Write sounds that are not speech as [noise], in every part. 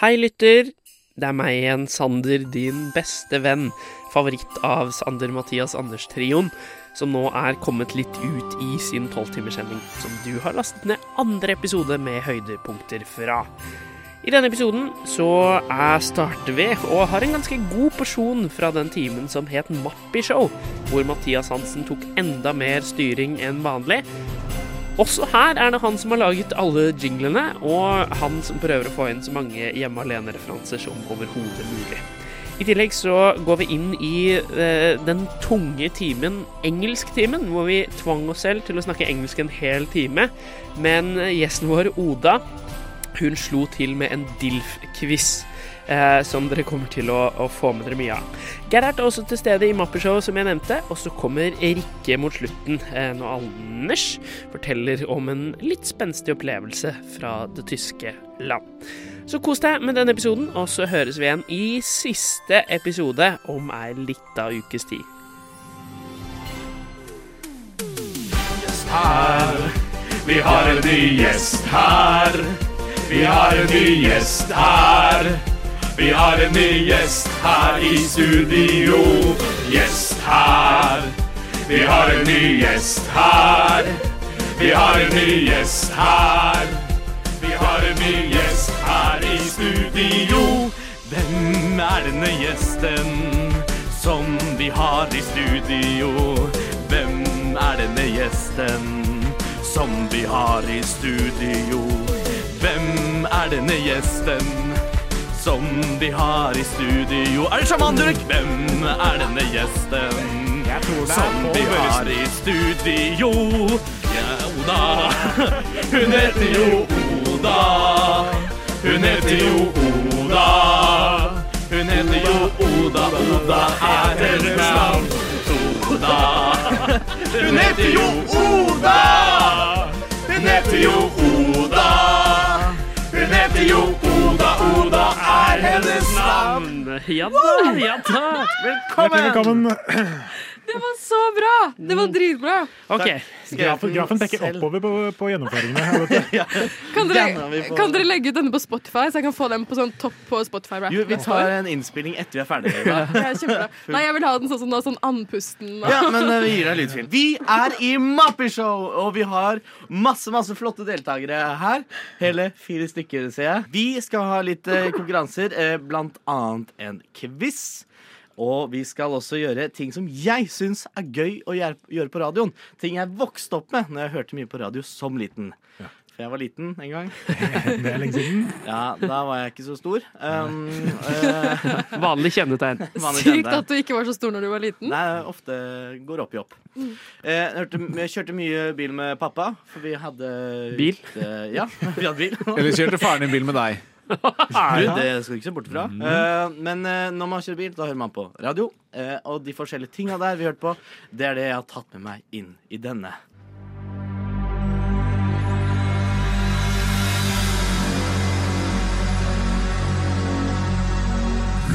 Hei, lytter. Det er meg igjen, Sander, din beste venn. Favoritt av Sander Mathias Anders-trioen, som nå er kommet litt ut i sin tolvtimerssending, som du har lastet ned andre episode med høydepunkter fra. I denne episoden så er starter vi, og har en ganske god porsjon fra den timen som het Mappi-show, hvor Mathias Hansen tok enda mer styring enn vanlig. Også her er det han som har laget alle jinglene, og han som prøver å få inn så mange hjemme alene-referanser som overhodet mulig. I tillegg så går vi inn i eh, den tunge timen, engelsktimen, hvor vi tvang oss selv til å snakke engelsk en hel time. Men eh, gjesten vår, Oda, hun slo til med en DILF-quiz. Eh, som dere kommer til å, å få med dere mye av. Gerhard er også til stede i Mappeshow, som jeg nevnte. Og så kommer Rikke mot slutten, eh, når Anders forteller om en litt spenstig opplevelse fra det tyske land. Så kos deg med denne episoden, og så høres vi igjen i siste episode om ei lita ukes tid. her. Vi har en ny gjest her. Vi har en ny gjest her. Vi har en ny gjest her i studio. Gjest her. Vi har en ny gjest her. Vi har en ny gjest her. Vi har en ny gjest her i studio. Hvem er denne gjesten som vi har i studio? Hvem er denne gjesten som vi har i studio? Hvem er denne gjesten som vi har i studio? Er det sjaman Durek? Hvem er denne gjesten som vi har i studio? Ja, Oda. Hun heter jo Oda. Hun heter jo Oda. Hun heter jo Oda. Oda er hennes navn. Oda. Hun heter jo Oda. Hun heter jo Oda. Hun heter jo Oda. Oda er hennes navn. Ja da, ja da. Hjertelig velkommen. Det var så bra! Det Mm. var dritbra. Ok, Grafen, grafen peker oppover på, på gjennomføringene. her, vet du. Kan Den har vi dere, på- kan dere legge ut denne på Spotify, så jeg kan få den på sånn topp på Spotify? Jo, vi tar en innspilling etter vi er ferdige. Eva. Det er kjempebra. Nei, jeg vil ha den sånn som nå, sånn andpusten. og- Ja, men eh, vi gir deg lydfil. Vi er i Mappeshow, og vi har masse masse flotte deltakere her. Hele fire stykker, ser jeg. Vi skal ha litt eh, konkurranser, eh, blant annet en quiz. Og vi skal også gjøre ting som jeg syns er gøy å gjer- gjøre på radioen. Ting jeg vokste opp med når jeg hørte mye på radio som liten. For jeg var liten en gang. Det er lenge siden. Ja, Da var jeg ikke så stor. Um, [laughs] eh, Vanlig kjennetegn. vanlig Sykt kjente. at du ikke var så stor når du var liten. Nei, ofte går opp i opp. Eh, jeg hørte, jeg kjørte mye bil med pappa, for vi hadde Bil? Eh, ja, [laughs] vi hadde bil. Eller kjørte faren din bil med deg? [laughs] Du, det skal du ikke se bort fra. Mhm. Eh, men eh, når man kjører bil, da hører man på radio. Eh, og de forskjellige tinga der vi hørte på, det er det jeg har tatt med meg inn i denne.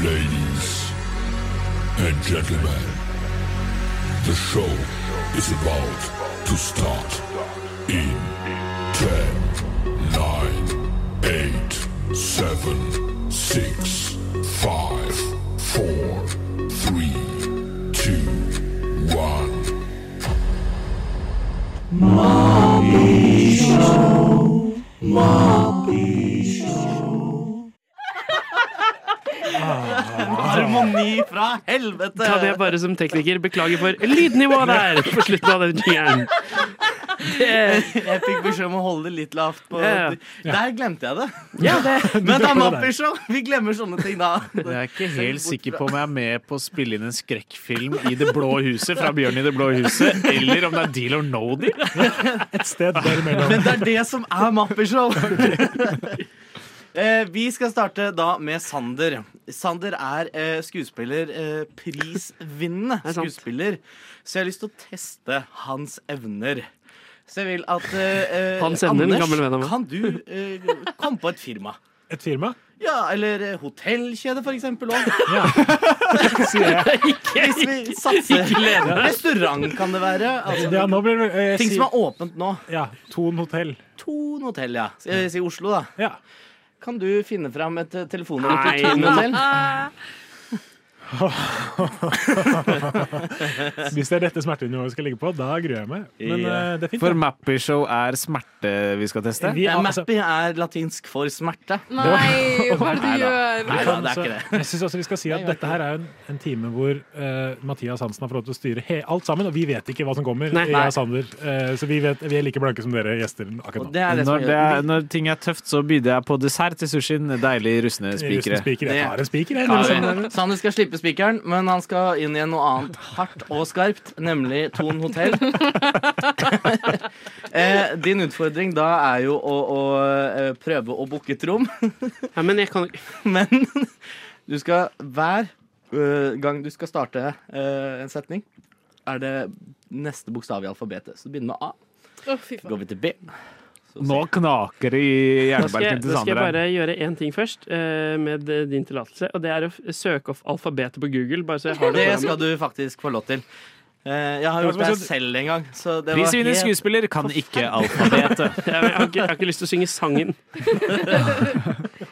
Ladies and gentlemen, the show is about to start in 10, 9, 8, 7, 6, 5, 4, 3, 2, 1. Harmoni fra helvete! Kan jeg bare som tekniker beklage for lydnivået der på slutten av den jingeren. Det- [laughs] Jeg fikk beskjed om å holde det litt lavt. På, Ja, ja. Der glemte jeg det. Ja, det [laughs] Men det er Mappishow! Vi glemmer sånne ting da. Jeg er ikke helt sikker på om jeg er med på å spille inn en skrekkfilm i Det blå huset fra Bjørn i Det blå huset, eller om det er Deal or no deal. Et sted derimellom. Men det er det som er Mappeshow! [laughs] Eh, vi skal starte da med Sander. Sander er eh, skuespiller, eh, prisvinnende er sant. skuespiller. Så jeg har lyst til å teste hans evner. Så jeg vil at eh, eh, Hans evner, en Anders, gammel venn av meg. kan du eh, komme på et firma? Et firma. Ja, eller eh, hotellkjede, for eksempel. Også. [laughs] Hvis Ikke, vi satser. ikke lene. Restaurant kan det være. Altså, Ja, nå blir det eh, jeg ting som sier- er åpent nå. Ja, Thon hotell. Thon hotell, ja. Skal jeg si Oslo, da? Ja. Kan du finne fram et eh, telefonnummer Nei, til Tone men- selv? Hvis det er dette smertenivået vi skal ligge på, da gruer jeg meg. Men Ja. eh, det er fint. For da. Mappy Show er smerte vi skal teste? Vi, Ja, altså, Mappy er latinsk for smerte. Nei, hva er det Nei du da. gjør? Nei da, det er så- ikke det. altså- jeg syns også vi skal si at dette her er jo en, en time hvor eh, Mathias Hansen har fått lov til å styre he alt sammen, og vi vet ikke hva som kommer. Nei. jeg og Sander, eh, så vi, vet, vi er like blanke som dere gjester Og akkurat nå. det er det som Når, det gjør er, når ting er tøft, så byr jeg på dessert til sushien. Deilig rustne Rusten spikere. Spiker. Jeg tar liksom en spiker, jeg. Ja, eller sånn. vel. Sander skal slippe spikeren, men han skal inn i noe annet hardt og skarpt, nemlig Thon hotell. [laughs] eh, din utfordring da er jo å, å eh, prøve å booke et rom, Nei, men jeg kan men [laughs] du skal hver eh, gang du skal starte eh, en setning, er det neste bokstav i alfabetet. Så begynner med A, Å, fy så går faen. vi til B. Nå knaker det i Da skal, jeg, jernbalken til da skal jeg Sander. her. bare gjøre én ting først, eh, med eh, din tillatelse. Og det er å f- søke opp alfabetet på Google. Bare så jeg har det Det foran meg. skal du faktisk få lov til. Eh, jeg Ja, har gjort men det så- selv en gang. Så det var Prisvinnende helt... skuespiller kan ikke alfabetet. Jeg, jeg, har ikke, jeg har ikke lyst til å synge sangen.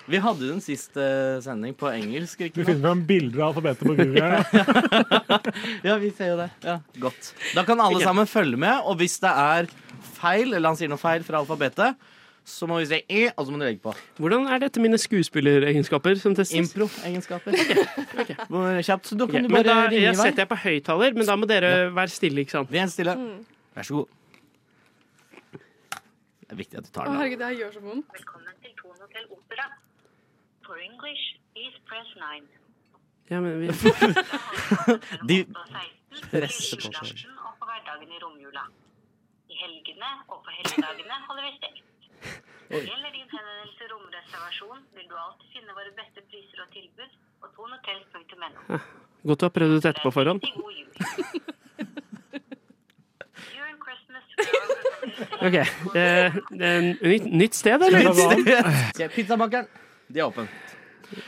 Vi hadde den siste øh, sending på engelsk. Du [laughs] Ikke sant? finner fram bilder av alfabetet på Google. [laughs] her. Ja, vi ser jo det. Ja, godt. Da kan alle sammen følge med, og hvis det er feil, eller han sier noe feil fra alfabetet, så må vi si e, og så må du legge på. Hvordan er dette mine skuespilleregenskaper som testes? Impro-egenskaper. Hvor Kjapt. Så da Ok, kan du men da bare ringe jeg i vei. setter jeg på høyttaler, men da må dere være stille, ikke sant? Vi er helt stille. Vær så god. Det er viktig at du tar Å, den. herregud, det her gjør så vondt. Velkommen til Thon Hotel Opera. For English, please press [laughs] 9. Ja, men vi, da. De, presser presser på seg. Og på hverdagene i romjula. I helgene og på helligdagene holder vi stengt. Når det gjelder din henvendelse til romreservasjon, vil du alltid finne våre beste priser og tilbud på [laughs] thonhotels.no. godt å ha prøvd ut dette på forhånd. Riktig god jul. During Christmas, we are organizing Ok, eh, eh, nytt, nytt sted, eller? Se, Pizzabakeren. De er åpen.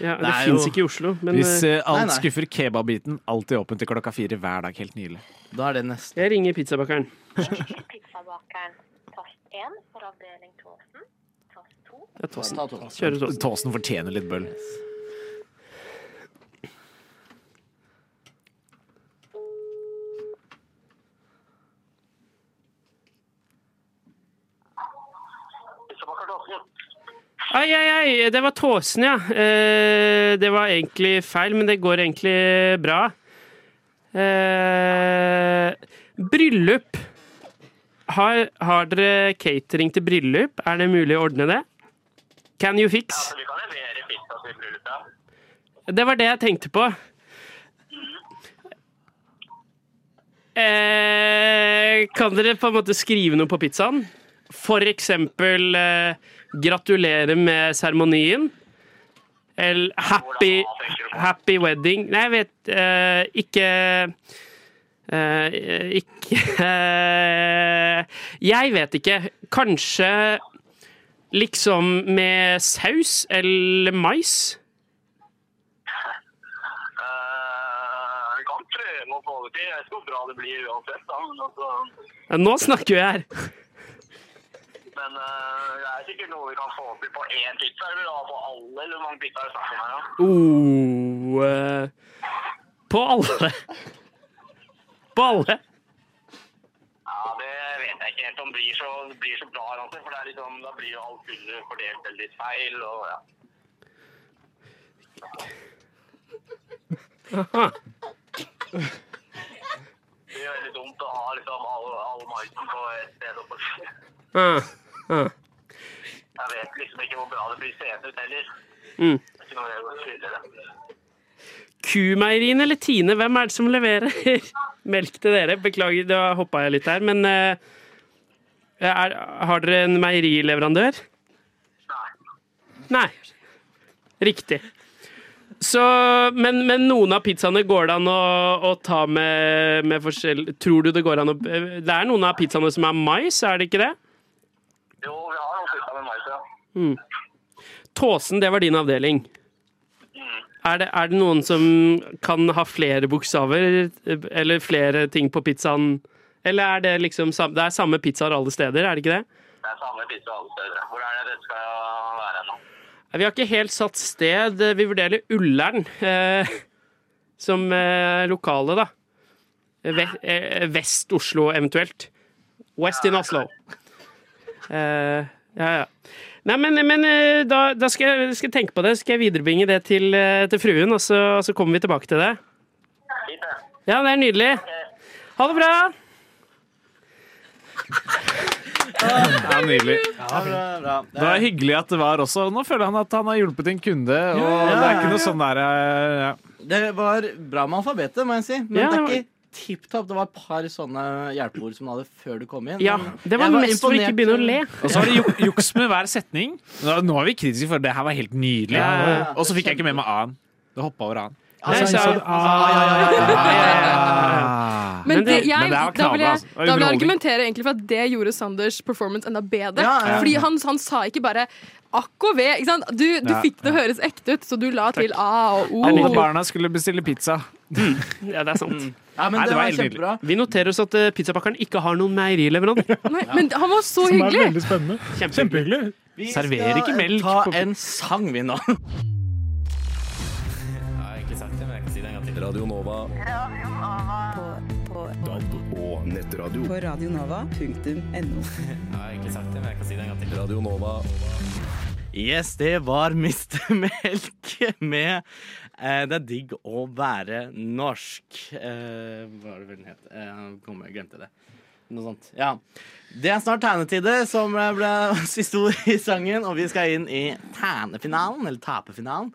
Ja, det Det er jo- fins ikke i Oslo, men Hvis eh, eh, Nei, alt nei. skuffer kebabbiten, alltid åpen til klokka fire hver dag. Helt nylig. Da er det neste. jeg ringer pizzabakeren. [laughs] eh. pizzabakeren tast 1 for avdeling Tåsen, tast 2 Ja, Tåsen. Ta to. Kjører Tåsen. Tåsen fortjener litt bøll. Ai, ai, ai, det var tåsen, ja. Eh, det var egentlig feil, men det går egentlig bra. Eh, bryllup. Har, har dere catering til bryllup? Er det mulig å ordne det? Can you fix? Vi kan levere pizza til bryllupet. Det var det jeg tenkte på. Eh, kan dere på en måte skrive noe på pizzaen? For eksempel eh, 'Gratulerer med seremonien'. Eller 'Happy, happy wedding'. Nei, jeg vet eh, ikke eh, Ikke eh, Jeg vet ikke. Kanskje liksom med saus eller mais? Eh, vi kan prøve å få det til. Jeg vet ikke hvor bra det blir uansett. Da. Men, altså, Ja, nå snakker vi her. men eh, det er sikkert noe vi kan få til på én pizza. Eller da, på alle, eller hvor mange pizzaer er det snakk om her? da? Mm. Oh, eh, på alle. På alle. Ja, det vet jeg ikke helt om blir så, blir så bra. Altså, for det er liksom, da blir jo alt under fordelt eller litt feil. Og, ja. Det er veldig dumt å ha liksom all, all marken på et sted. og på- Ah, ah. Jeg vet liksom ikke hvor bra det blir seende ut heller. Mm. Det er ikke noe jeg kan skylde det. Kumeieriene eller Tine, hvem er det som leverer [laughs] melk til dere? Beklager, da hoppa jeg litt her, men eh, er, har dere en meierileverandør? Nei. Nei. Riktig. Så, men, men noen av pizzaene går det an å, å ta med, med forskjell... Tror du det går an å Det er noen av pizzaene som er mais, er det ikke det? Jo, vi har noen pizza med mais, ja. Mm. Tåsen, det var din avdeling. Mm. Er det, er det noen som kan ha flere bokstaver eller flere ting på pizzaen? Eller er det liksom sam- Det er samme pizzaer alle steder, er det ikke det? Det er samme pizza alle steder. Hvor er det det skal være nå? Vi har ikke helt satt sted. Vi vurderer Ullern eh, som eh, lokale, da. Ve eh, Vest-Oslo eventuelt. West in Oslo. Eh, ja, ja. Nei, men, men eh, da, da skal, jeg, skal jeg tenke på det. Skal jeg viderebringe det til, eh, til fruen, og så, og så kommer vi tilbake til det. Fint, det. Ja, det er nydelig. Ha det bra! Ja, nydelig. Ja, bra, bra. Det var hyggelig at det var også. Nå føler han at han har hjulpet en kunde. Og det er ikke noe sånn der eh, ja. Det var bra med alfabetet, må jeg si. Men Ja, det det er var- ikke tipp topp. Det var et par sånne hjelpeord som du hadde før du kom inn. Ja, Men Det var jeg mest for å ikke imponert. begynne å le. Og så har de ju- juks med hver setning. Nå nå er vi kritiske, for det her var helt nydelig. Ja, ja, ja. Og så fikk jeg ikke med meg A-en. Det hoppa over A-en. Nei, Altså, Så- så- så- ah, Men, Men det- det, jeg, men det er knallbra, da vil jeg, da vil altså. jeg Underholdning. argumentere egentlig for at det gjorde Sanders performance enda bedre. Ja, ja, ja. Fordi han, han sa ikke bare akk og ve. Ikke sant? Du, du Ja, fikk det høres ekte ut, så du la til a og o. Alle barna skulle bestille pizza. Ja, det er sant. Ja, men Nei, det, var, det var helt nydelig. kjempebra. Vi noterer oss at eh, pizzabakeren ikke har noen [laughs] meierileverandør. Nei, men han var Som så er hyggelig. veldig spennende. Kjempe. Kjempehyggelig. Vi Serverer skal, ikke eh, melk Ta på- en sang, [laughs] vi nå. Og nettradio. På radionova.no. Yes, det var [laughs] Mistemelk med eh, Det er digg å være norsk. Eh, hva var det vel den het? Eh, kom, jeg glemte det. Noe sånt. Ja. Det er snart tegnetide, som eh, ble [laughs] siste ord i sangen. Og vi skal inn i ternefinalen, eller taperfinalen.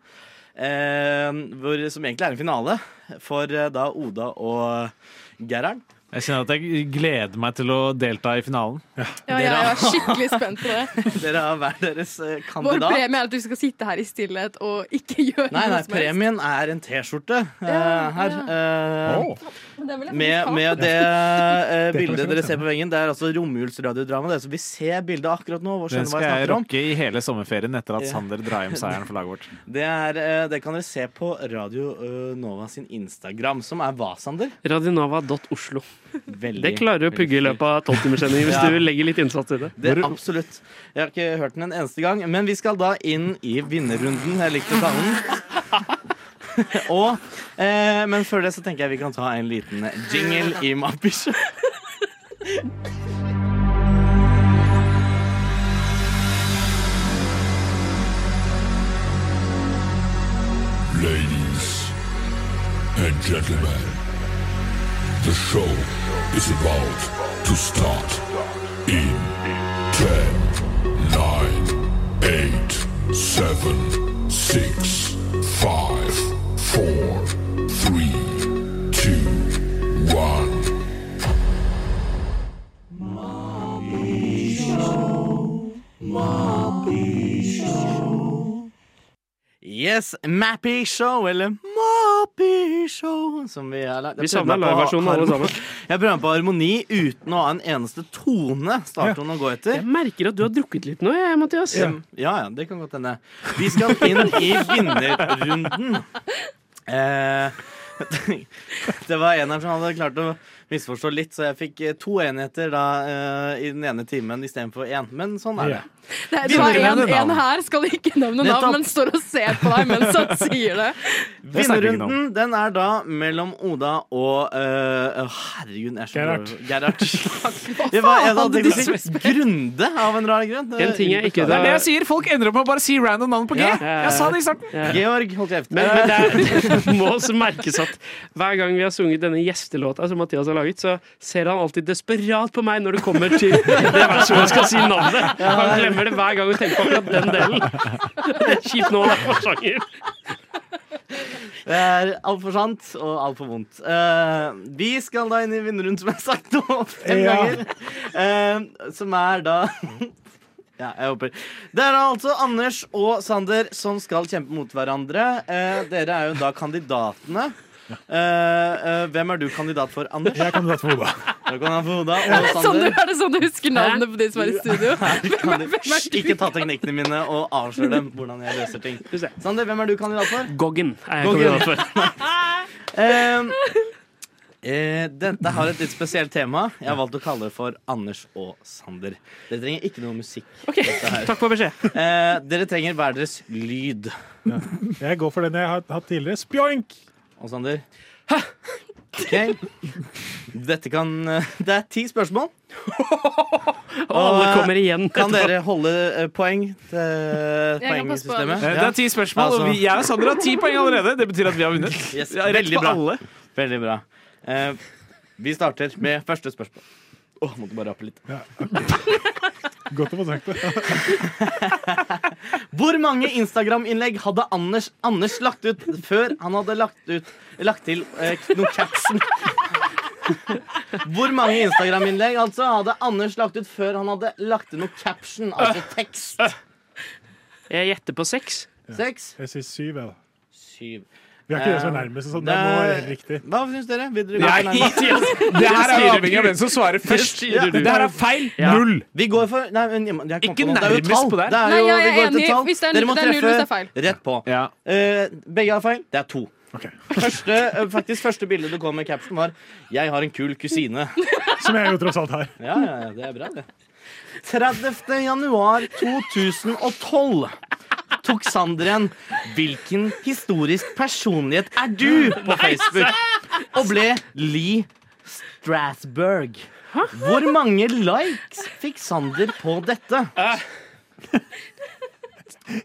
Eh, hvor, som egentlig er en finale for eh, da Oda og Gerhard. Jeg kjenner at jeg gleder meg til å delta i finalen. Ja, ja, jeg var skikkelig spent [laughs] på det. Dere har hver deres eh, Vår kandidat. premie er at du skal sitte her i stillhet og ikke gjøre Nei, nei, noe som helst. premien er en T-skjorte eh, Ja, her. Eh, Men det vil jeg Med, faktisk ha. med det eh, Det kan vi bildet dere se. ser på veggen, det er altså romjulsradiodrama. Det er så vi ser bildet akkurat nå. Hvor Den skjønner hva jeg skal jeg snakker om. rocke i hele sommerferien etter at Ja. Sander drar hjem seieren for laget vårt. Det, er, eh, det kan dere se på Radio eh, Nova sin Instagram, som er hva, Sander? Radionova.oslo. Veldig. Det klarer du å pugge i løpet av tolvtimerssendingen [laughs] hvis Ja. du legger litt innsats i det. Det, absolutt. Jeg har ikke hørt den en eneste gang. Men vi skal da inn i vinnerrunden. Jeg likte talen. [laughs] Og, eh, men før det så tenker jeg vi kan ta en liten jingle i Mappisjø. Ladies and gentlemen, the show is about to start in 10, 9, 8, 7, 6, 5, 4, 3, 2, 1. Yes, Mappy Show, eller Mappy Show, som vi har lagd. Vi savner liveversjonen alle sammen. Jeg prøver meg på harmoni uten å ha en eneste tone starttonen å gå etter. Jeg merker at du har drukket litt nå, jeg, Mathias. Ja. ja, det kan godt hende. Vi skal inn i vinnerrunden. Eh, [laughs] det var eneren som hadde klart å misforstå litt, så jeg fikk eh, to enheter da eh, i den ene timen istedenfor én. Men sånn er det. Nei, det var en, Vinnerrunden, da. en her skal ikke nevne navn, Nettopp. men står og ser på deg mens han sier det. Det snakker vi ikke Vinnerrunden den er da mellom Oda og eh, å, Herregud, jeg er så Gerhard. Det var en av Faen, de du Grunde, av en rar grunn. En ting jeg ikke Det er det jeg sier! Folk ender opp med å bare si random navn på G! Ja. Jeg sa det i starten. Georg, hold kjeft. Men, men det, er, [laughs] det må også merkes at hver gang vi har sunget denne gjestelåta som Mathias har laget, så ser han alltid desperat på meg når det kommer [laughs] til det verset hvor jeg skal si navnet. Han glemmer det hver gang og tenker på akkurat den [laughs] delen. Det er kjipt nå, det er for sjanger. Det er altfor sant og altfor vondt. Eh, vi skal da inn i vinnerrunden, som jeg har sagt nå fem Ja. ganger. Eh, som er da [laughs] Ja, jeg håper. Det er da altså Anders og Sander som skal kjempe mot hverandre. Eh, dere er jo da kandidatene. Eh, eh, hvem er du kandidat for, Anders? Jeg er kandidat for Oda. Da kan han få Oda og Sånn du, Sander. er det sånn du husker navnene på de som er i studio? Hvem er, hvem er Hysj, du? Ikke ta teknikkene mine og avslør dem hvordan jeg løser ting. Du ser. Sander, hvem er du kandidat for? Goggen er jeg Goggen. kandidat for. Eh, Ehm, Eh, dette har et litt spesielt tema. Jeg har valgt å kalle det for Anders og Sander. Dere trenger ikke noe musikk. dette her. Takk for beskjed. Eh, dere trenger hver deres lyd. Jeg går for den jeg har hatt tidligere. Spjoink! Og Sander Hæ? OK. Dette kan eh, Det er ti spørsmål. Og alle eh, kommer igjen. Kan etterpå. dere holde eh, poeng Jeg til kan passe på poengsystemet? Anders. Eh, Det er ti spørsmål, og Altså- vi, jeg og Sander har ti poeng allerede. Det betyr at vi har vunnet. Yes, Ja, rett veldig på bra. alle. Veldig bra. Eh, vi starter med første spørsmål. Åh, måtte bare rappe litt. Godt å få sagt det. Hvor mange Instagram-innlegg hadde Anders, Anders lagt ut før han hadde lagt, ut, lagt til eh, noen caption? [laughs] Hvor mange Instagram-innlegg altså hadde Anders lagt ut før han hadde lagt til noe caption, altså tekst? Jeg gjetter på seks. Seks? Jeg sier syv, jeg, da. Syv. Vi er ikke det som er nærmest, så det må være helt riktig. Hva syns dere? Vil dere gå Nei, for nærmest? Det her er avhengig av hvem som svarer først. styrer du. Det her er feil. Ja. Null. Vi går for Nei, men jeg, jeg kom Ikke på noe. Det er jo nærmest tall. på der. Det er Nei, jo, jeg vi er går til enig. tall. Hvis det er- Dere må det er null hvis det er feil. treffe rett på. Ja. Eh, begge har feil. Det er to. Ok. Første, eh, faktisk, første bilde du kom med caption, var 'Jeg har en kul kusine'. Som jeg jo tross alt har. Ja, ja, ja, det er bra, det. 30. januar 2012 tok Sander en 'Hvilken historisk personlighet er du?' på Facebook og ble Lee Strasberg. Hvor mange likes fikk Sander på dette?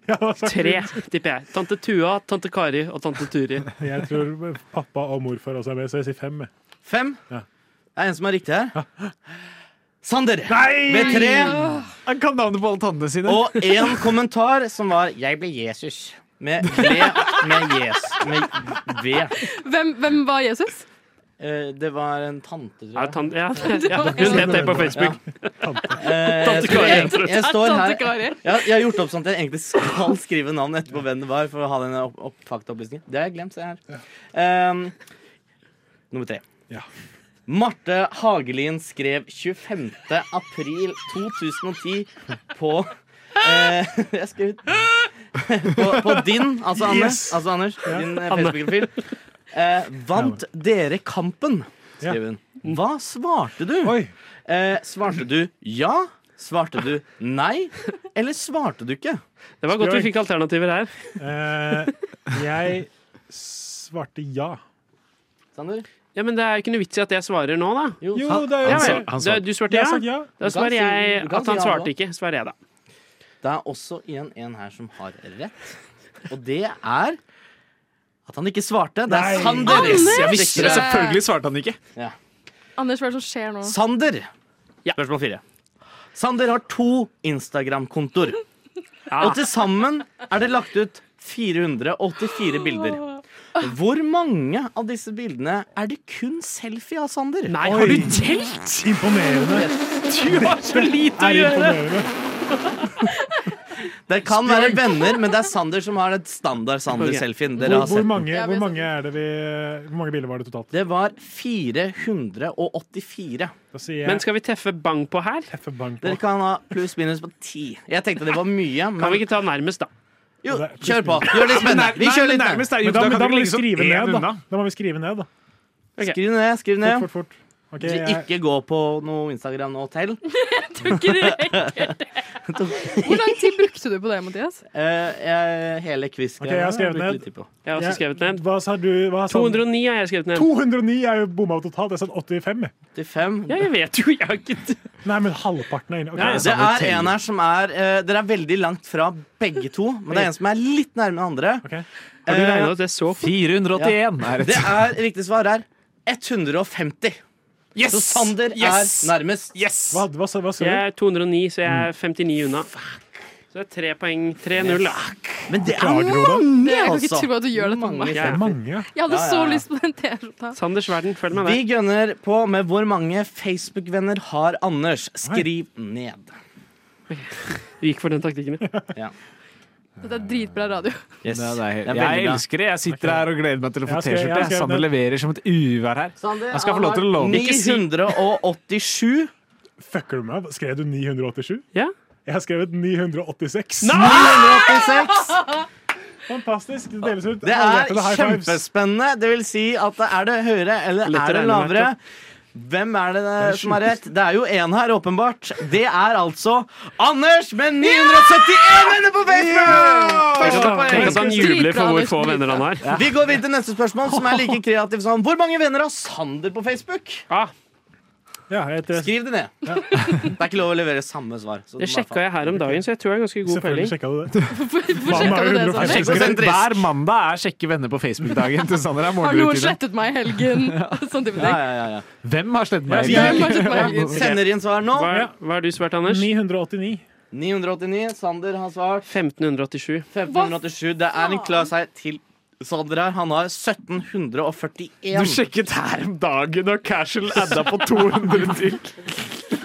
Jeg, har sagt Tre, tipper jeg. Tante Tua, tante Kari og tante Turi. jeg tror pappa og morfar også er med, så jeg sier fem. jeg. Fem? Ja. Det er en som er riktig her. Sander Nei! med tre Han kan navnet på alle tannene sine. og én kommentar som var 'Jeg ble Jesus'. Med V. Med yes, med v. Hvem, hvem var Jesus? Eh, Det var en tante, tror jeg. Ja, tan ja, ja. Hun het det på Facebook. Eh, Tante så Kari, jeg, tror jeg, står her Tante Kari. jeg, har- jeg har gjort opp sånn at jeg egentlig skal [laughs] skrive navn etterpå hvem det var. For å ha denne opp, opp, faktaopplysningen Det har jeg glemt. Se her. Ehm, nummer tre. Ja. Marte Hagelin skrev 25. april 2010 på eh, [laughs] Jeg skrev på, på din, altså Anders, Yes. altså Anders din eh, Facebook-profil. Eh, vant dere kampen? Ja. skrev hun. Hva svarte du? Oi. Eh, svarte du ja? Svarte du nei? Eller svarte du ikke? Det var godt vi fikk alternativer her. Eh, jeg svarte ja. Sander? Ja, Men det er ikke noe vits i at jeg svarer nå, da. Jo, sa- det er Ja, jo vel. sa- han Da- sa- Du svarte Jeg har ja? sagt ja. Da Du kan svarer si- jeg du kan at han si ja, svarte da. ikke. Svarer jeg, da. Det er også igjen en her som har rett. Og det er at han ikke svarte. Det Nei. er Sander! Jeg visste det, Anders! selvfølgelig svarte han ikke. Anders, hva er det som skjer nå? Sander! Ja. Spørsmål fire. Sander har to Instagram-kontoer. Og til sammen er det lagt ut 484 bilder. Hvor mange av disse bildene er det kun selfie av Sander? Nei, Oi. har du telt?! Imponerende. [laughs] Du har så lite å Er gjøre! imponerende. Det kan være venner, men det er Sander som har et standard Sander-selfien. Dere Hvor, har hvor, sett. mange, hvor mange er det vi Hvor mange biler var det totalt? Det var 484. Da sier Men jeg skal vi treffe bang på her? F bank på. Dere kan ha pluss-minus på ti. Jeg tenkte det var mye, Kan vi men ikke ta nærmest, da? jo, kjør på. Gjør det spennende. Vi kjører litt nærmest. nærmest. Er, jo, Men da, da men kan da dere må vi liksom legge sånn skrive én ned, da. unna. Da må vi skrive ned, da. Skriv ned, skriv ned. Fort, fort, fort. Ok, Så jeg, ikke gå på noe Instagram nå til. [laughs] Hvor lang tid brukte du på det, Mathias? Eh, jeg- hele quiz Ok, jeg har skrevet ned. Jeg har også Ja. altså, skrevet ned. hva sa du? Hva sa 209 har jeg skrevet ned. 209 er sånn jo bomma totalt. Jeg sa 85. jeg. Til fem. Ja, jeg vet jo, jeg har ikke Nei, men halvparten er inne. Ok. Nei, Det er en her som er eh, Dere er veldig langt fra begge to, men det er en som er litt nærme den andre. Eh, Ok. Har du regnet ut det så fort? 481 er Det et er riktig svar er 150. Yes! Så Sander yes! er nærmest. Yes! Hva, hva, sa- hva sa Jeg du? er 209, så jeg er 59 unna. Så det er tre poeng. 3-0, da. Men det er Klager du, Oda? Jeg mange, kan ikke altså! tro at du gjør dette med meg. Jeg Mange. er Mange. Jeg hadde Ja, så ja, ja. lyst på den T-skjorta. Sanders Verden, følg med Vi der. gønner på med hvor mange Facebook-venner har Anders. Skriv ned. Du gikk for den taktikken. din. Dette er dritbra radio. Yes. Det er Det er deg. jeg veldig bra. elsker det. Jeg sitter her og gleder meg til å få Jeg skrev- jeg T-skjorte. skrev Sander ned. leverer som et uvær her. Sander, Jeg skal få lov til å love. han har 987. Fucker du meg? Skrev du 987? Ja? Jeg har skrevet 986. Nei! 986. Fantastisk. Det deles ut. Det er Allierte high fives. kjempespennende. Det vil si at det er det høyere eller Lett å er det regne med, lavere? Hvem er det, som har rett? Det er jo én her, åpenbart. Det er altså Anders med 971 venner på Facebook! Tenk at han- tenk at han jubler for hvor få Dritbra, venner han har. Vi går videre til neste spørsmål, som er like kreativt som Hvor mange venner har Sander på Facebook? Skriv det ned. Det er ikke lov å levere samme svar. så Det du må bare sjekka jeg her om dagen, så jeg tror jeg har ganske god peiling. Selvfølgelig sjekka du det. Hver mandag er sjekke venner på Facebook-dagen til Sander. er Har noen morgenrutine. slettet meg i [laughs] helgen? Sånn type ting. Hvem har slettet Ja, meg? hvem har slettet meg? Ok. Sender inn svar nå. Hva, hva har du svart, Anders? 989. 989. Sander har svart 1587. 1587. Det er en klar seier til Sander her. Han har 1741. Du sjekket her om dagen, og Casual adda på 200 til.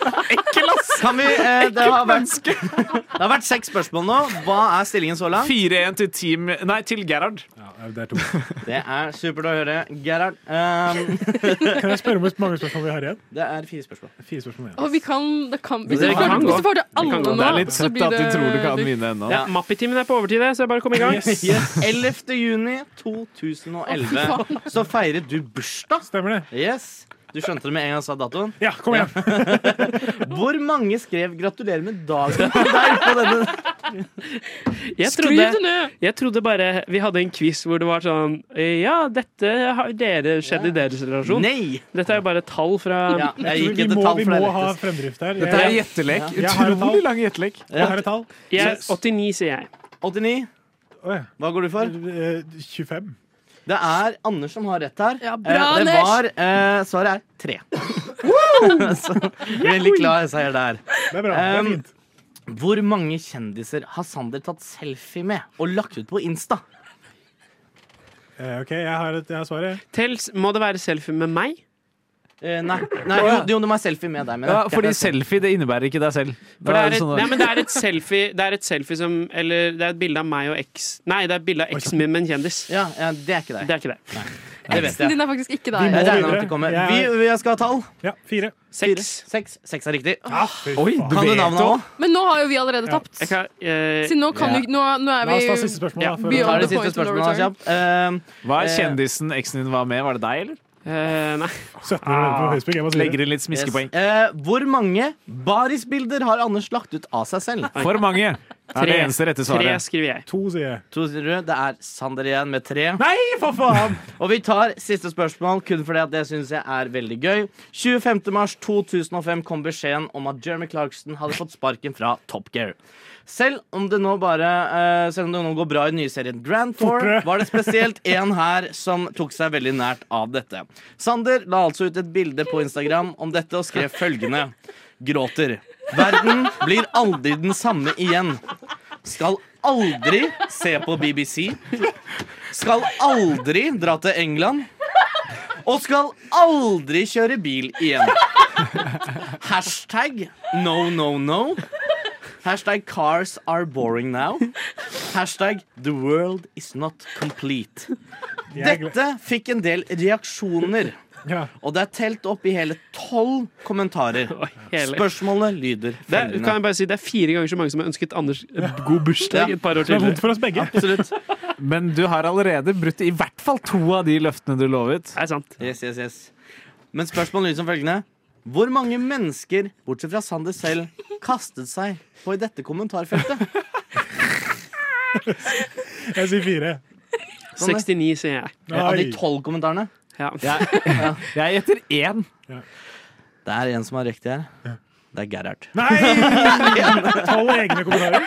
Ekkel, ass! Kan vi, eh, det, har vært, [laughs] det har vært seks spørsmål nå. Hva er stillingen så langt? 4-1 til team Nei, til Gerhard. Det er to. Det er supert å høre. Gerhard, ehm, Kan jeg spørre om hvor mange spørsmål vi har igjen? det er fire spørsmål. Fire spørsmål igjen. Og vi kan, det kan Hvis Det vi kan får, gå. hvis vi får det Det kan alle gå. nå, Det er litt så søtt blir at de det- tror du kan vinne ennå. Ja, Mappetimen er på overtid, så jeg bare kom i gang. Yes. 11. juni 2011 så feiret du bursdag. Stemmer det. Yes. Du skjønte det med en gang jeg sa datoen? Ja, kom igjen. Hvor mange skrev 'gratulerer med dagen' til deg på denne? Jeg Skriv det trodde, ned! jeg trodde bare vi hadde en quiz hvor det var sånn Ja, dette har dere skjedd i deres relasjon. Nei! Dette er jo bare tall fra Ja, Jeg jeg tror gikk vi etter må, tall, vi for det må er ha lettest. fremdrift her. Dette er Jeg- gjettelek. Ja, jeg har et Utrolig tall. lang gjettelek. Jeg har et tall. jeg, 89, sier jeg. 89. Oi. Hva går du for? Eh, 25. Det er Anders som har rett her. Ja, bra, Eh, det Anders! var, eh, svaret er tre. [laughs] Så, veldig klar seier der. Det er bra. Det er Um, fint. Hvor mange kjendiser har Sander tatt selfie med og lagt ut på Insta? Eh, OK, jeg har, et, jeg har svaret. Tels, må det være selfie med meg? Eh, nei, nei jo, jo, du må ha selfie med deg. mener Ja, jeg. fordi selfie det innebærer ikke deg selv. For det er, et, sånn- nei, men det er et selfie Det er et selfie som Eller det er et bilde av meg og eks Nei, det er et bilde av eksen min med en kjendis. ja, ja, det er ikke Det deg. er ikke det. Det vet jeg. Din er faktisk ikke Vi der. må- Jeg regner med videre. at du kommer. Jeg Vi, er- vi skal ha tall. Ja, fire. Ah, Seks. Seks. Seks er riktig. Oi, du Kan du vet navnet om- òg? Men nå har jo vi allerede Ja. tapt. Jeg kan, eh, Så nå kan du Nå, nå er La oss ta vi siste spørsmål. Ja, da, for vi å- Ta gjør det point siste of no spørsmålet da, return. kjapt. Eh, Hva er Eh, kjendisen eksen din var med? Var det deg, eller? eh, nei. 17 minutter på Facebook. Jeg må si Legger det. inn litt smiskepoeng. yes. Eh, hvor mange barisbilder har Anders lagt ut av seg selv? For mange er det Tre. eneste Tre rette svaret. skriver jeg. To, sier jeg. [laughs] To, sier du. Det er Sander igjen med tre. Nei, for faen! Og vi tar siste spørsmål, kun fordi at det syns jeg er veldig gøy. 25. mars 2005 kom beskjeden om at Jeremy Clarkson hadde fått sparken fra Top Gear. Selv om det nå bare eh, Selv om det nå går bra i den nye serien Grand Tour, Fortere. var det spesielt én her som tok seg veldig nært av dette. Sander la altså ut et bilde på Instagram om dette og skrev følgende. Gråter. Verden blir aldri den samme igjen. Skal aldri se på BBC. Skal aldri dra til England. Og skal aldri kjøre bil igjen. Hashtag no, no, no. Hashtag cars are boring now. Hashtag the world is not complete. Jeg er glad- Dette fikk en del reaksjoner, Ja. og det er telt opp i hele tolv kommentarer. Hele. Spørsmålet lyder Det er, kan følgende. jeg bare si, det er fire ganger så mange som har ønsket Anders god bursdag Ja. et par år Det er tidligere. vondt for oss begge. Absolutt. Men du har allerede brutt i hvert fall to av de løftene du lovet. Det er sant. Yes, yes, yes. Men spørsmålet lyder som følgende. Hvor mange mennesker, bortsett fra Sander selv, kastet seg på i dette kommentarfeltet? Jeg sier fire. 69, sier jeg. Av de Nei. tolv kommentarene? Ja. Jeg gjetter én. Det er en som har riktig her. Det er Gerhard. Nei! Tolv egne kommentarer.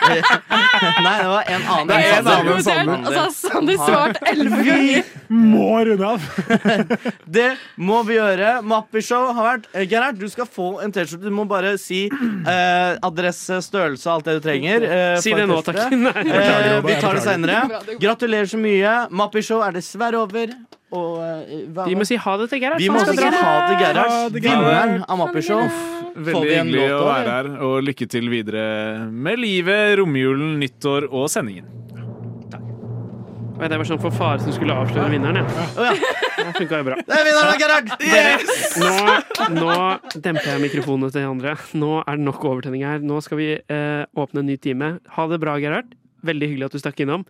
Nei, det var en annen. Det er en Sander. Sander. annen Sander. Og så Altså, har Sander svart elleve ganger. Må runde av. Det må vi gjøre. Mappishow har vært eh, Gerhard, du skal få en T-skjorte. Du må bare si eh, adresse, størrelse, alt det du trenger. eh, Si for det nå, T-skjorte. takk. Nei. Eh, Robert, vi tar det beklager. seinere. Bra, det går. Gratulerer så mye. Mappishow er dessverre over. Og eh, hva, Vi må si ha det til Gerhard. vi må for han si skal dra. ha det, Ha Gerhard. det, Gerhard. Vinneren av Mappishow. Får Veldig vi en hyggelig låt å da, være her, og lykke til videre med livet, romjulen, nyttår og sendingen. Oi, Det var sånn for fare som skulle avsløre vinneren, ja. Det funka jo bra. Det er vinneren av Gerhard! Nå, nå demper jeg mikrofonene til de andre. Nå er det nok overtenning her. Nå skal vi eh, åpne en ny time. Ha det bra, Gerhard. Veldig hyggelig at du stakk innom.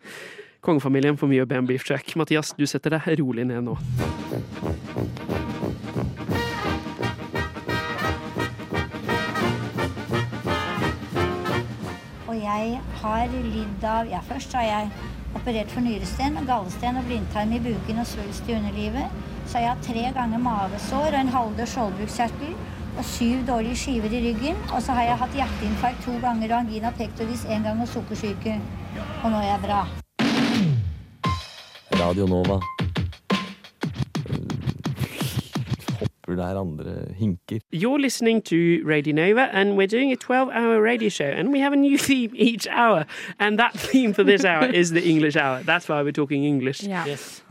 Kongefamilien får mye å be om beef track. Mathias, du setter deg rolig ned nå. Og jeg har lidd av Ja, først har jeg operert for nyresten, gallesten og blindtarm i buken og svulst i underlivet. Så har jeg hatt tre ganger mavesår og en halvdød skjoldbruskkjertel og syv dårlige skiver i ryggen. Og så har jeg hatt hjerteinfarkt to ganger og angina pectoris én gang og sukkersyke. Og nå er jeg bra. Radio Nova. Hopper der andre hinker. You're listening to Radio Nova, and we're doing a 12 hour radio show, and we have a new [laughs] theme each hour. And that theme for this hour is the English hour. That's why we're talking English. Yeah. Yes.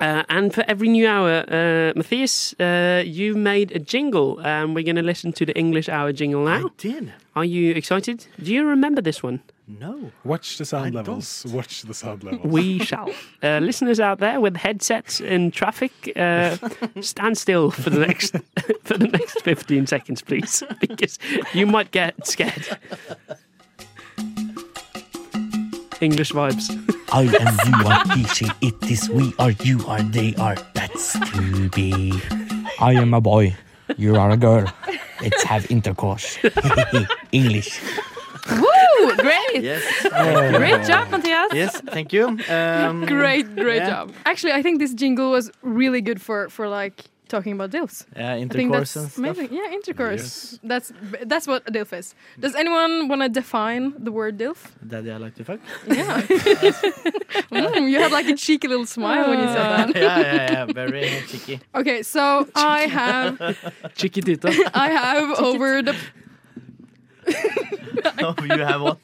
Uh, and for every new hour, uh, Matthias, uh, you made a jingle, and we're going to listen to the English hour jingle now. I did. Are you excited? Do you remember this one? No. Watch the sound levels. Watch the sound levels. We [laughs] shall. Uh, listeners out there with headsets in traffic, [laughs] uh, stand still for the next [laughs] for the next fifteen seconds, [laughs] please, because you might get scared. English vibes. [laughs] I and you are each, it is we are, you are, they are, that's to be. I am a boy. You are a girl. Let's have intercourse. [laughs] English. Woo! Great! Great job, Matthias. Yes, thank you. Um, Great, great yeah. job. Actually, I think this jingle was really good for for like talking about dilfs. Yeah, I think intercourse that's and stuff. amazing. Yeah, intercourse. That's that's what a dilf is. Does anyone want to define the word dilf? Daddy, I like to fuck. Yeah. [laughs] Mm, you had like a cheeky little smile when you said that. [laughs] [laughs] yeah, yeah, yeah. Very cheeky. Okay, so I have Chicky tita. I have over the [laughs] Oh, you have [laughs] what?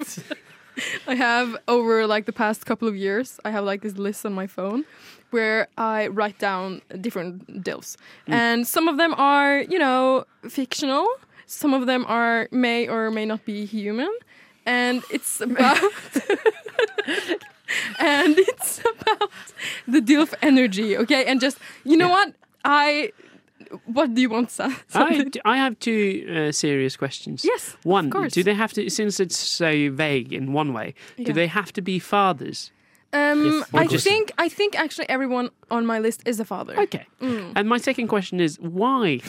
I have over like the past couple of years, I have like this list on my phone where I write down different dilfs. Mm. And some of them are, you know, fictional. Some of them are may or may not be human. And [laughs] it's about [laughs] and it's about the dilf energy, okay? And just you know what? I what do you want, Sam? I, I have two uh, serious questions. Yes, of One, course. do they have to, since it's so vague in one way, Yeah. do they have to be fathers? Um, Yes. I One question. think I think actually everyone on my list is a father. Okay. Mm. And my second question is [laughs] why?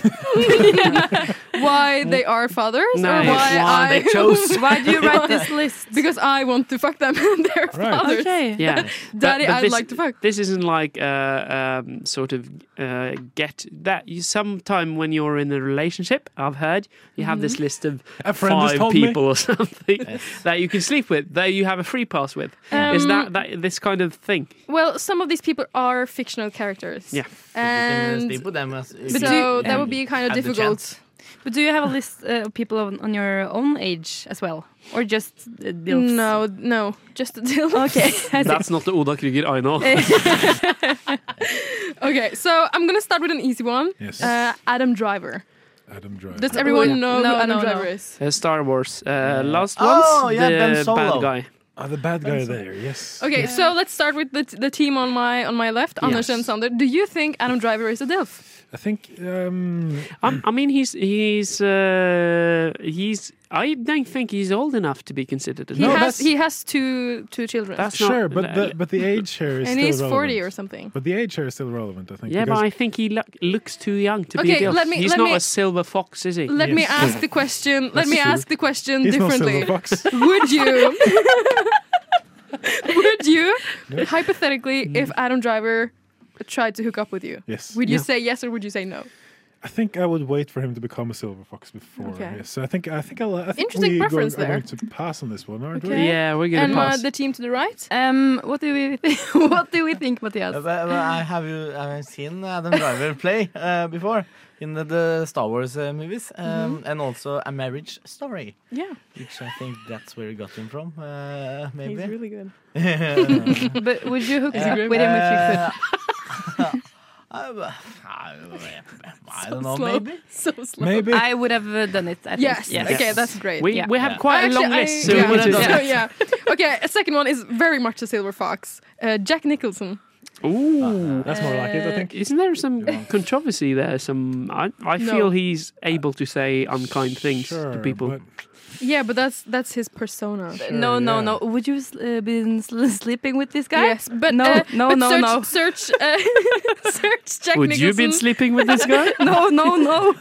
Why they are fathers? No. Or why, Why I they [laughs] chose. Why do you write this list? Because I want to fuck them [laughs] and they're fathers. Okay. Yeah. Daddy, But- but I'd this- like to fuck. This isn't like uh, um, sort of uh, get that. You sometime when you're in a relationship, I've heard you have this list Mm-hmm. Mhm. of A friend has five told me. people or [laughs] something that you can sleep with, that you have a free pass with. Is Um, that, that this kind of thing? Well, some of these people are fictional characters. Yeah. And sleep with them as- so if you that would be kind of have the difficult. chance. But do you have a list uh, of people on, on your own age as well? Or just uh, dilfs? No, no, just dilfs. Okay. I see. That's not the Oda Krüger I Uh, know. [laughs] Okay, so I'm gonna start with an easy one. Yes. Oh, Uh, Adam Driver. Adam Driver. Does everyone yeah. know No, who Adam no, no. Driver is? Uh, Star Wars. Uh, last Oh, ones, yeah, Ben the Solo. bad guy. Oh, the bad guy there, yes. Okay, so let's start with the, the team on my on my left, Anders and Sander. Do you think Adam Driver is a DILF? I think um, i I mean, he's he's uh, he's. I don't think he's old enough to be considered. a He no, has he has two two children. sure, but the, but the age here is and still he's relevant. forty or something. But the age here is still relevant, I think. yeah, but because- I think he look, looks too young to Okay, be a DILF. let me- he's let not me- a silver fox, is he? Let me ask the question. Let That's me true. ask the question He's not differently. Silverfox. Would you? [laughs] would you hypothetically, if Adam Driver tried to hook up with you, Yes. would you Yeah. say yes or would you say no? I think I would wait for him to become a silver fox before. Okay. Yes. So I think I think I'll, I think Interesting we preference go, are there. going to pass on this one, aren't Okay. we? Yeah, we're and uh, the team to the right. Um, what do we [laughs] think? what do we think, Uh, Matthias? but- but I have you I have seen Adam Driver play uh, before in the, the Star Wars uh, movies, um, Mm-hmm. and also A Marriage Story. Yeah. Which I think that's where you got him from, uh, maybe. He's really good. but would you hook Yeah. Uh, up with him if you could? [laughs] I, I, I don't know, slow. [laughs] maybe. So slow. Maybe. I would have uh, done it. I think. Yes. Okay, that's great. We- Yeah. we have quite a Actually, long I- list, so yeah. we need to- So, yeah. Okay, a second one is very much a silver fox. Uh, Jack Nicholson. Ooh, That's more like it, I think. Isn't there some controversy there? Some I, I No. feel he's able to say unkind things to people. Yeah, but uh, that's that's his persona. no, no, no. Would you uh, been sl- sleeping with this guy? Yes, but no, uh, no, but no, search, no. Search, uh, [laughs] search Jack Would you been Nicholson. sleeping with [laughs] [laughs] this guy? [laughs] no, no, no.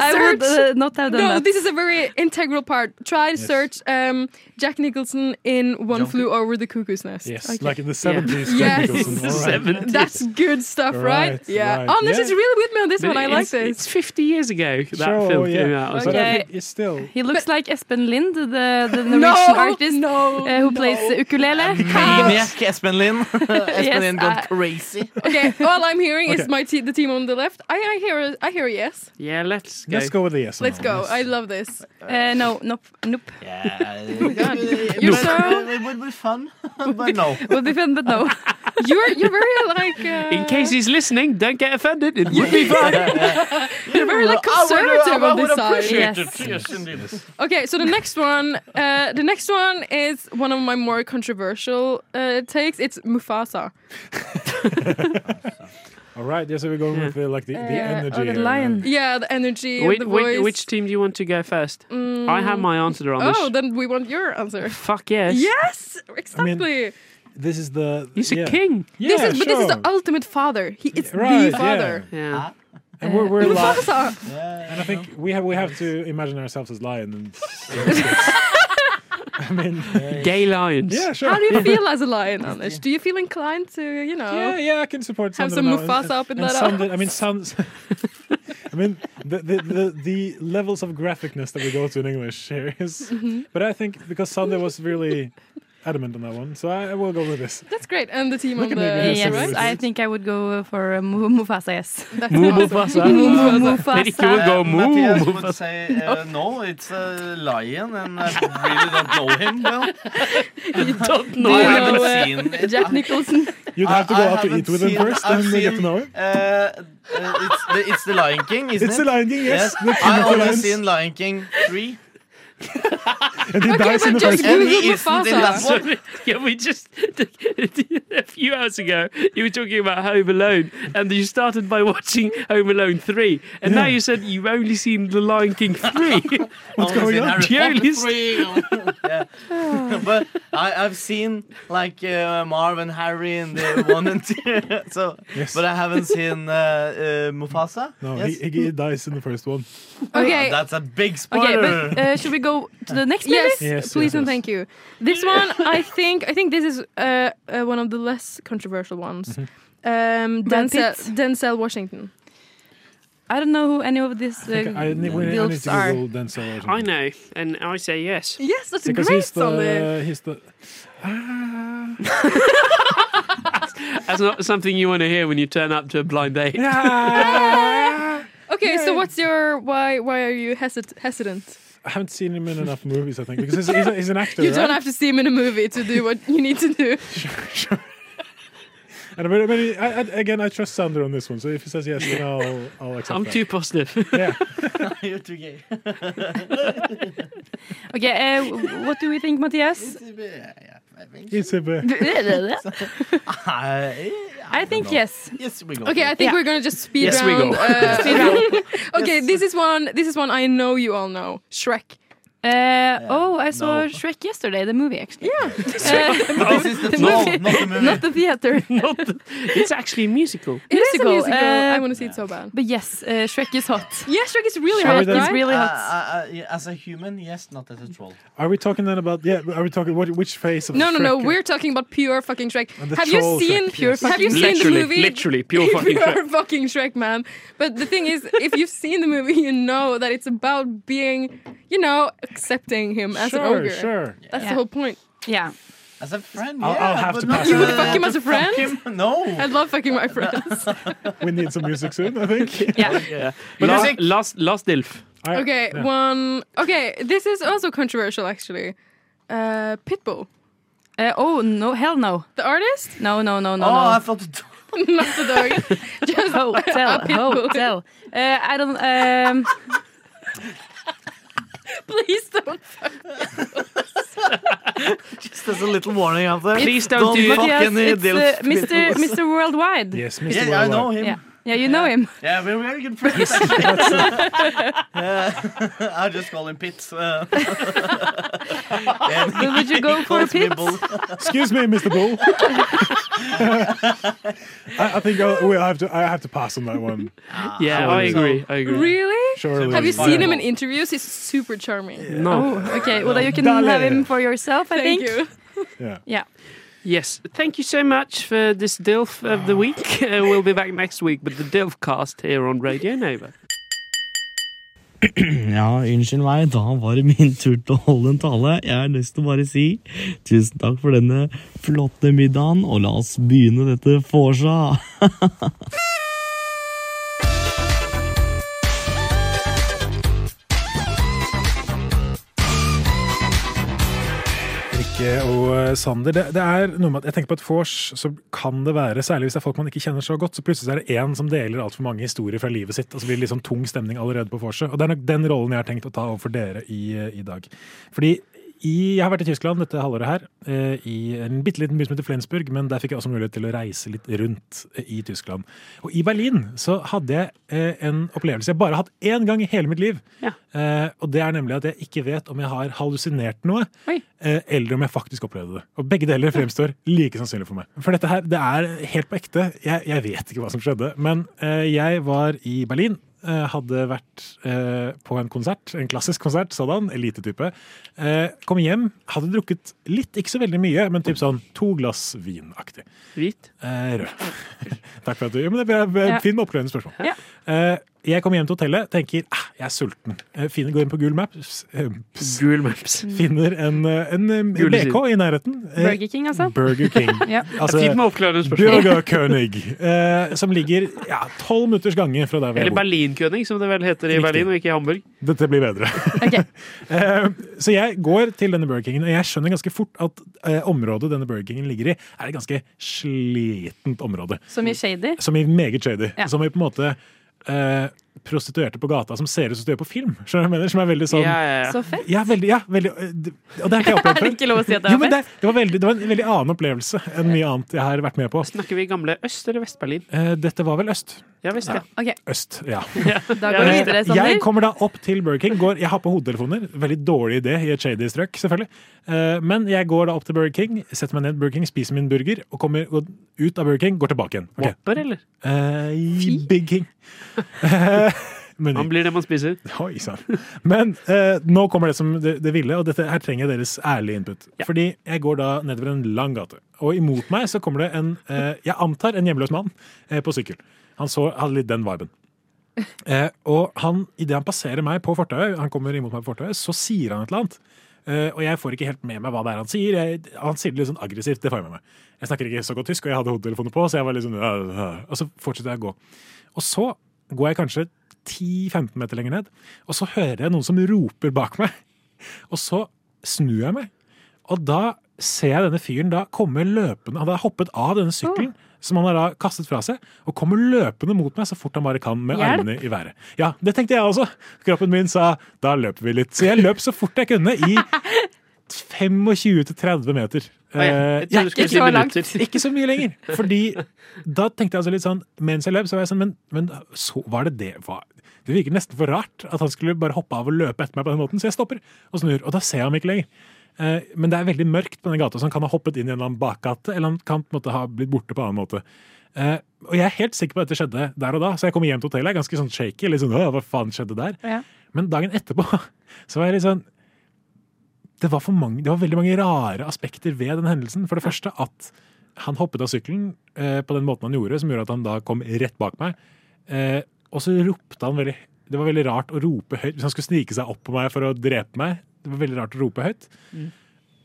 I would uh, Search- not have done no, that. this is a very integral part. Try to search um, Jack Nicholson in One Flew Over the Cuckoo's Nest. Yes, Okay. like in the 70s. Yeah. Jack Yes. Nicholson. All right. That's good stuff, right? Right, yeah. right. Oh, this Yeah. is really with me on this But one. I like it's- this. It's 50 years ago that Sure, film yeah. came out. But so- I think it's still He looks like Espen Lind, the, the Norwegian [laughs] No, artist uh, who plays ukulele. [laughs] Maniac Espen Lind. [laughs] Espen Yes, Lind gone I- [laughs] crazy. Okay, all I'm hearing Okay. is my te- the team on the left. I, I hear a, I hear a yes. Yeah, let's go. Let's go with the yes. Let's go. I love this. Uh, no, nope, nope. You're Nope. so It would be fun, [laughs] but no. Would be fun, but no. [laughs] you're you're very like uh, In case he's listening, don't get offended. It would [laughs] be fun. you're very like I would- conservative I on would this side. appreciate it. Yes, indeed. Okay, so the next one, uh, the next one is one of my more controversial uh, takes. It's Mufasa. Mm. All right, yeah, so we're going with the, like the, the Uh, energy. here. Yeah, the energy, Whi- the whi- voice. which team do you want to go first? Mm. I have my answer, Anders. Oh, then we want your answer. Fuck yes. Yes, I mean, exactly. This is the. He's a yeah. king. Yeah, this is, but this is sure. the ultimate father. He is Right, the father. Yeah. And we're, [laughs] we're li- Mufasa. And I think we have we have to imagine ourselves as lions. And, [laughs] I mean, Gay lions. yeah, sure. How do you feel as a [laughs] lion, Anders? Do you feel inclined to, you know? Yeah, yeah, I can support Have Sunderland some now. And- Mufasa up in and that Sunderland- I mean, sounds. [laughs] I mean, the, the the the levels of graphicness that we go to in English here is. Mm-hmm. But I think because Sunday was really adamant on that one, so I, I will go with this. That's great. And the team Look on the at me being right? so Yes, I think I would go for uh, Mu- Mufasa, yes. That's Mu awesome. Mufasa. Mu- Mufasa. Erik, you will Mufasa. go Mu Matthias Mufasa. would say, uh, no, it's a lion, and uh, I really don't know him well. You don't know I haven't uh, seen it. Jack [laughs] Nicholson. You'd have to I- go I out to haven't eat with him seen- first, I've and get to seen, know him. Uh, uh, it's, the, it's the Lion King, isn't It's it? the Lion King, yes. The King I of the only Lions. seen Lion King 3. And he dies in but the first just Google And he isn't in that Mufasa. one. [laughs] Sorry, Can we just a few hours ago you were talking about Home Alone and you started by watching Home Alone three and now Yeah. you said you've only seen The Lion King three. [laughs] What's going on? Julius. [laughs] yeah. [laughs] but I, I've seen like uh, Marv and Harry in the [laughs] one and two. So, Yes. but I haven't seen uh, uh, Mufasa. No, yes? he, he dies in the first one. Okay. That's a big spoiler. Okay, but uh, should we go to the next maybe? Yes, Yes, yes, please and yes. thank you. [laughs] This one, I think, I think this is uh, uh, one of the less controversial ones. Mm-hmm. Um, Brad Denzel, Pitt? Denzel Washington. I don't know who any of these uh, I, need- we- I need gilfs to are. Google Denzel. or something. I know, and I say [laughs] yes. Yes, that's a Because great he's song. the he's the [laughs] ah, That's not something you want to hear when you turn up to a blind date. yeah. Okay, so what's your why? Why are you hesit- hesitant? I haven't seen him in enough movies, I think, because he's, he's, a- he's an actor. [laughs] You don't right? have to see him in a movie to do what you need to do. And but, but I, I, again, I trust Sander on this one, so if he says yes, then I'll, I'll accept I'm that. too positive. Yeah. You're too gay. [laughs] Okay, uh, w- what do we think, Matthias? It's a bit. I, I think yes. yes, we go. Okay, I think Yeah. we're gonna just speed Yes, we round. go. uh, [laughs] Speed round. [laughs] okay, this is one. This is one I know you all know. Shrek. Uh, oh, I saw Shrek yesterday, the movie actually. [laughs] Yeah. [laughs] Uh, this is the no, not the movie. not the theater. [laughs] It's actually a musical. It is Musical, a musical. uh, I want to see it so bad. But yes, uh, Shrek is hot. [laughs] Yeah, Shrek is really Shall we hot, then- right? It's really [laughs] Uh, hot. uh, uh, yeah, as a human, yes, not as a troll. Are we talking then about yeah? Are we talking what, which phase of no, no, no. Shrek? We're talking about pure fucking Shrek. And the Have you troll seen Shrek, Pure yes. Have you seen literally, the movie? literally, [laughs] pure fucking Shrek. Pure fucking Shrek, man. But the thing is, if you've seen the movie, you know that it's about being, you know, accepting him as sure, an ogre. sure. That's Yeah. the whole point. Yeah. As a friend, I'll- yeah, I'll have but to not pass You would fuck him as a [laughs] fuck friend? him, No. I love fucking [laughs] my friends. We need some music soon, I think. [laughs] Yeah. Yeah. But La- I think- last, last Dilf. I- Okay, yeah. one. Okay, this is also controversial, actually. Uh, Pitbull, Uh, oh no! Hell no! the artist, No! No! No! No! oh, I no! thought it [laughs] not the dog. Just Hotel, Eh, a pitbull. hotel. Uh, I don't. Um, Please don't fuck [laughs] Just as a little warning out there. It's- Matthias, it's, uh, Mr. Mr. Worldwide. Yes, Mr. Yeah, I know Worldwide. him. Yeah, Yeah, you know [laughs] him. Yeah, we're very good friends. [laughs] actually. Uh, I just call him [laughs] Pitts. Uh, and But would you he go for a calls me Pitts? Bull. Excuse me, Mr. [laughs] Bull. [laughs] I, I think I'll, we I have to. I have to pass on that one. Yeah, I Surely. agree. I agree. Really? Surely. Have you Yeah. seen him in interviews? He's super charming. No. Oh, okay. Well, then you can Dale. have him for yourself, I Thank think. you. Yeah. Yes, thank you so much for this DILF of the [laughs] week. Uh, we'll be back next week with the DILF cast here on Radio Nova. Ja, unnskyld meg, da var det min tur til å holde en tale. Jeg har lyst til å bare si tusen takk for denne flotte middagen, og la oss begynne dette vorsa. Rikke og eh, Sander, det, det er noe med at jeg tenker på et vors, så kan det være, særlig hvis det er folk man ikke kjenner så godt, så plutselig er det én som deler altfor mange historier fra livet sitt, og så blir det liksom tung stemning allerede på vorset. Og det er nok den rollen jeg har tenkt å ta overfor dere i, eh, i dag. Fordi i, jeg har vært i Tyskland dette halvåret her, eh, i en bitte liten by som heter Flensburg, men der fikk jeg også mulighet til å reise litt rundt eh, i Tyskland. Og i Berlin så hadde jeg eh, en opplevelse jeg bare har hatt én gang i hele mitt liv. Eh, og det er nemlig at jeg ikke vet om jeg har hallusinert noe, eh, eller om jeg faktisk opplevde det. Og begge deler fremstår like sannsynlig for meg. For dette her, det er helt på ekte. Jeg, jeg vet ikke hva som skjedde. Men eh, jeg var i Berlin. eh, Hadde vært eh, på en konsert, en klassisk konsert, sådan, elitetype. Eh, kom hjem, hadde drukket litt, ikke så veldig mye, men typ sånn to glass vinaktig. Hvit? Eh, rød. [laughs] Takk for at du ja, men Det er Ja. en fin med oppklarende spørsmål. Eh, jeg kommer hjem til hotellet, tenker ah, jeg er sulten. Eh, finner, går inn på Google Maps. eh, ps- Finner en, eh, en, eh, Gule BK sider. i nærheten. eh, Burger King, altså. Burger King. [laughs] ja. Altså, Fint med oppklarende spørsmål. Burger König, eh, som ligger ja, tolv minutters gange fra der hvor jeg Eller bor. Berlinkönig, som det vel heter i Berlin, og ikke i Hamburg. Dette blir bedre. [laughs] Eh, så jeg går til denne Burger Kingen, og jeg skjønner ganske fort at eh, området denne Burger Kingen ligger i, er et ganske slitent område. Som i Shady. Som i meget shady. Ja. Som i på en måte eh, prostituerte på gata som ser ut som de gjør på film. Skjønner du hva jeg mener? Som er veldig sånn Ja, ja, ja. Så fett. [laughs] Ja, veldig, ja, veldig, eh, d- og det har ikke jeg opplevd Er før. det ikke lov å si at det er Jo, men fett? Det, det, var veldig, det var en veldig annen opplevelse enn mye annet jeg har vært med på. Snakker vi gamle Øst- eller Vest-Berlin? Eh, dette var vel øst. Ja visst, ja. Ok. Øst, ja. Da går vi Eh, videre, Sander. Jeg kommer da opp til Burger King. Går, jeg har på hodetelefoner. Veldig dårlig idé i et shady strøk, selvfølgelig. Eh, Men jeg går da opp til Burger King, setter meg ned i Burger King, spiser min burger og kommer og ut av Burger King, går tilbake igjen. Ok. Whopper, eller? Eh, i Big King. Eh, [laughs] meny. Han blir det man spiser. [laughs] Oi sann. Men eh, nå kommer det som det, det ville, og dette, her trenger jeg deres ærlige input. Fordi jeg går da nedover en lang gate, og imot meg så kommer det en eh, Jeg antar en hjemløs mann eh, på sykkel. Han så, hadde litt den viben. Eh, og han, idet han passerer meg på fortauet, han kommer imot meg på fortauet, så sier han et eller annet. Eh, og jeg får ikke helt med meg hva det er han sier. Jeg, han sier det litt sånn aggressivt. det får Jeg med meg. Jeg snakker ikke så godt tysk, og jeg hadde hodetelefoner på, så jeg var litt sånn øh, øh. Og så fortsetter jeg å gå. Og så går jeg kanskje 10-15 meter lenger ned, og så hører jeg noen som roper bak meg. Og så snur jeg meg, og da ser jeg denne fyren da komme løpende. Han har hoppet av denne sykkelen. Som han har da kastet fra seg, og kommer løpende mot meg så fort han bare kan. med Hjelp. armene i været. Ja, Det tenkte jeg også. Kroppen min sa 'da løper vi litt'. Så jeg løp så fort jeg kunne i 25-30 meter. Å ja, Eh, jeg trodde du skulle si minutter. Ikke så mye lenger. Fordi da tenkte jeg altså litt sånn Mens jeg løp, så var jeg sånn Men, men så var det det var. Det virker nesten for rart at han skulle bare hoppe av og løpe etter meg på den måten, så jeg stopper og snur. Og da ser jeg ham ikke lenger. Eh, Men det er veldig mørkt på den gata, så han kan ha hoppet inn i en eller annen bakgate, eller han kan på en måte ha blitt borte på en annen måte. Eh, og jeg er helt sikker på at dette skjedde der og da, så jeg kommer hjem til hotellet jeg er ganske sånn shaky. Litt sånn, «Åh, hva faen skjedde der? Ja. Men dagen etterpå [laughs] så var jeg litt sånn det var, for mange, det var veldig mange rare aspekter ved den hendelsen. For det første at han hoppet av sykkelen eh, på den måten han gjorde, som gjorde at han da kom rett bak meg. Eh, og så ropte han veldig Det var veldig rart å rope høyt hvis han skulle snike seg opp på meg for å drepe meg. Det var veldig rart å rope høyt.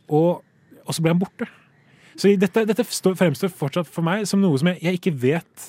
Og, og så ble han borte. Så i dette, dette står- fremstår fortsatt for meg som noe som jeg, jeg ikke vet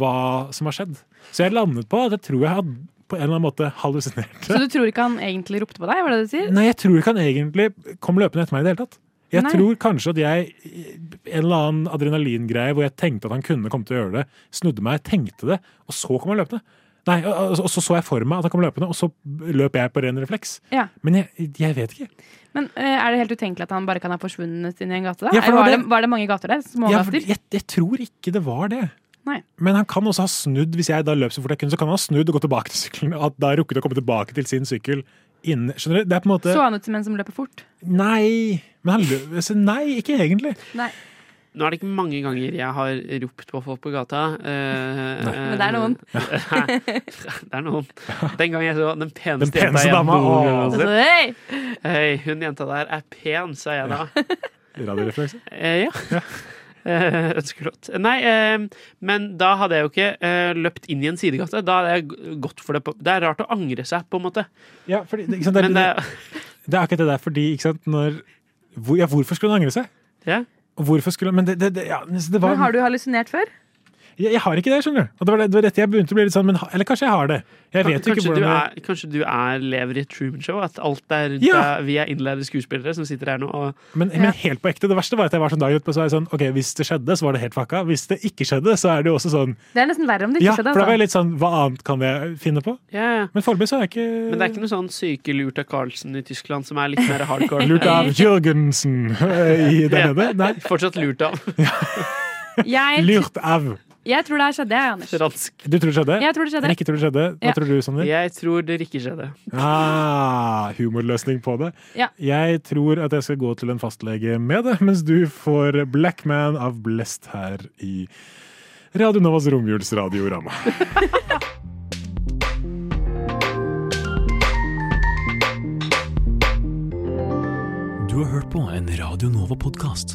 hva som har skjedd. Så jeg landet på at jeg tror jeg hadde på en eller annen måte hallusinert. Så du tror ikke han egentlig ropte på deg? var det det du sier? Nei, jeg tror ikke han egentlig kom løpende etter meg i det hele tatt. Jeg Nei. tror kanskje at jeg en eller annen adrenalingreie hvor jeg tenkte at han kunne komme til å gjøre det, snudde meg, tenkte det, og så kom han løpende. Nei, og, og, og så så jeg for meg at han kom løpende, og så løp jeg på ren refleks. Ja. Men jeg, jeg vet ikke. Men eh, er det helt utenkelig at han bare kan ha forsvunnet inn i en gate? da? Ja, for det var var, det, det- var det mange gater der? Små Jeg, gater? jeg, jeg tror ikke det var det. Nei. Men han kan også ha snudd, hvis jeg da løp så fort jeg kunne, så kan han ha snudd og gått tilbake til sykkelen. Og at da rukket å komme tilbake til sin sykkel innen Skjønner du? Det er på en måte Så han ut som en som løper fort? Nei. Men han løp så Nei, ikke egentlig. Nei. Nå er det ikke mange ganger jeg har ropt på folk på gata. eh, Nei. Men det er noen. Nei, det er noen. Den gangen jeg så den peneste, Den peneste jenta dama, å. jeg noen gang har Hei! sett. Hei, hun jenta der er pen, sa jeg da. Radioreflekse. Eh, ja. Eh, Ønskelåt. Nei, eh, men da hadde jeg jo ikke eh, løpt inn i en sidegate. Da hadde jeg g- gått for det på Det er rart å angre seg, på en måte. Ja, fordi, ikke sant, det, er, Men det- det, er akkurat det der, fordi ikke sant, når hvor, Ja, hvorfor skulle hun angre seg? Ja. Og hvorfor skulle Men det, det, det, ja, men så det var Men har du hallusinert før? jeg, jeg har ikke det, skjønner du. Og det var, det, det var dette jeg begynte å bli litt sånn, men, ha- Eller kanskje jeg har det. Jeg vet jo kanskje, ikke hvordan du det er, kanskje du er lever i et Truman Show? At alt er rundt Ja. deg? Vi er innlærde skuespillere som sitter her nå og men, men helt på ekte, det verste var at jeg var sånn dagen utpå, så var jeg sånn OK, hvis det skjedde, så var det helt fucka. Hvis det ikke skjedde, så er det jo også sånn Det er nesten verre om det Ja, ikke for skjedde. da var jeg altså. litt sånn Hva annet kan jeg finne på? Men foreløpig så har jeg ikke Men det er ikke noe sånn syke lurt av Carlsen i Tyskland som er litt mer hardcore? Lurt av Jørgensen eh, i der nede? Nei. Fortsatt lurt av. Jeg, Lurt av. jeg tror det her skjedde, jeg, Anders. Fransk. Du tror det skjedde? Jeg tror det skjedde. Rikke tror det skjedde. Hva Ja. tror du, Sander? Jeg tror det ikke skjedde. Ah, humorløsning på det. Ja. Jeg tror at jeg skal gå til en fastlege med det, mens du får Black Man av Blest her i Radio Novas romjulsradiorama. Du har hørt på en Radio Nova-podkast.